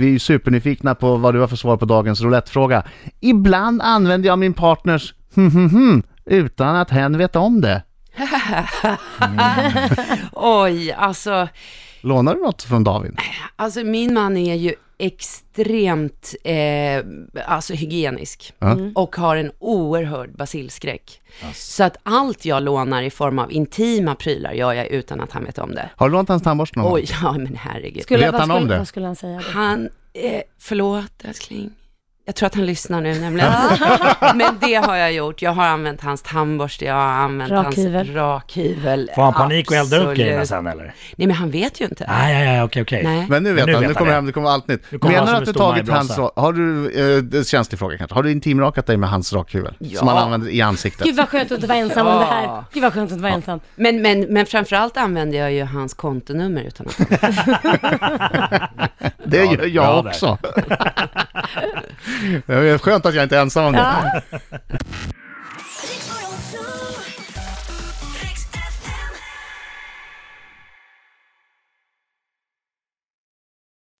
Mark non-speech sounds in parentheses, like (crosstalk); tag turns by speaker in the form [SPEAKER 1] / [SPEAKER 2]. [SPEAKER 1] Vi är ju supernyfikna på vad du har för svar på dagens roulettefråga. Ibland använder jag min partners hm utan att hen vet om det.
[SPEAKER 2] Oj, alltså,
[SPEAKER 1] Lånar du något från David?
[SPEAKER 2] alltså min man är ju extremt eh, alltså hygienisk
[SPEAKER 1] Ja.
[SPEAKER 2] och har en oerhörd basilskräck.
[SPEAKER 3] Alltså.
[SPEAKER 2] Så att allt jag lånar i form av intima prylar gör jag utan att han vet om det.
[SPEAKER 1] Har du lånat hans tandborste någon gång?
[SPEAKER 2] Oj, ja men herregud.
[SPEAKER 1] Vet
[SPEAKER 4] vad
[SPEAKER 1] han om det?
[SPEAKER 4] Vad skulle han säga? då?
[SPEAKER 2] Han, eh, förlåt älskling. Jag tror att han lyssnar nu nämligen. (laughs) Men det har jag gjort. Jag har använt hans tandborste, jag har använt
[SPEAKER 4] Rakhyvel.
[SPEAKER 2] hans rakhyvel.
[SPEAKER 3] Får han panik och eldar upp grejerna
[SPEAKER 2] Absolut.
[SPEAKER 3] sen eller?
[SPEAKER 2] Nej men han vet ju inte.
[SPEAKER 3] Nej, nej, nej, okej, okej. (laughs)
[SPEAKER 2] Nej.
[SPEAKER 1] Men nu vet
[SPEAKER 3] Men nu
[SPEAKER 1] han,
[SPEAKER 3] vet
[SPEAKER 1] nu
[SPEAKER 3] han
[SPEAKER 1] kommer
[SPEAKER 3] det.
[SPEAKER 1] hem, det kommer allt nytt.
[SPEAKER 3] Nu kommer
[SPEAKER 1] Menar
[SPEAKER 3] han
[SPEAKER 1] du
[SPEAKER 3] som
[SPEAKER 1] att du
[SPEAKER 3] en stor
[SPEAKER 1] tagit hans
[SPEAKER 3] majbrasa.
[SPEAKER 1] rak... Har du, eh, det är en känslig fråga kanske, har du intimrakat dig med hans rakhuvud?
[SPEAKER 2] Ja.
[SPEAKER 1] Som han använder i ansiktet?
[SPEAKER 4] Gud vad skönt att inte vara ensam om det här. Gud vad skönt att inte vara ensam.
[SPEAKER 2] Men, men, men framförallt använder jag ju hans kontonummer utan att
[SPEAKER 1] Det
[SPEAKER 3] Bra,
[SPEAKER 1] gör jag
[SPEAKER 3] bra där.
[SPEAKER 1] också. (laughs) det är skönt att jag inte är ensam om det.
[SPEAKER 4] Ja.
[SPEAKER 5] Riks-FM.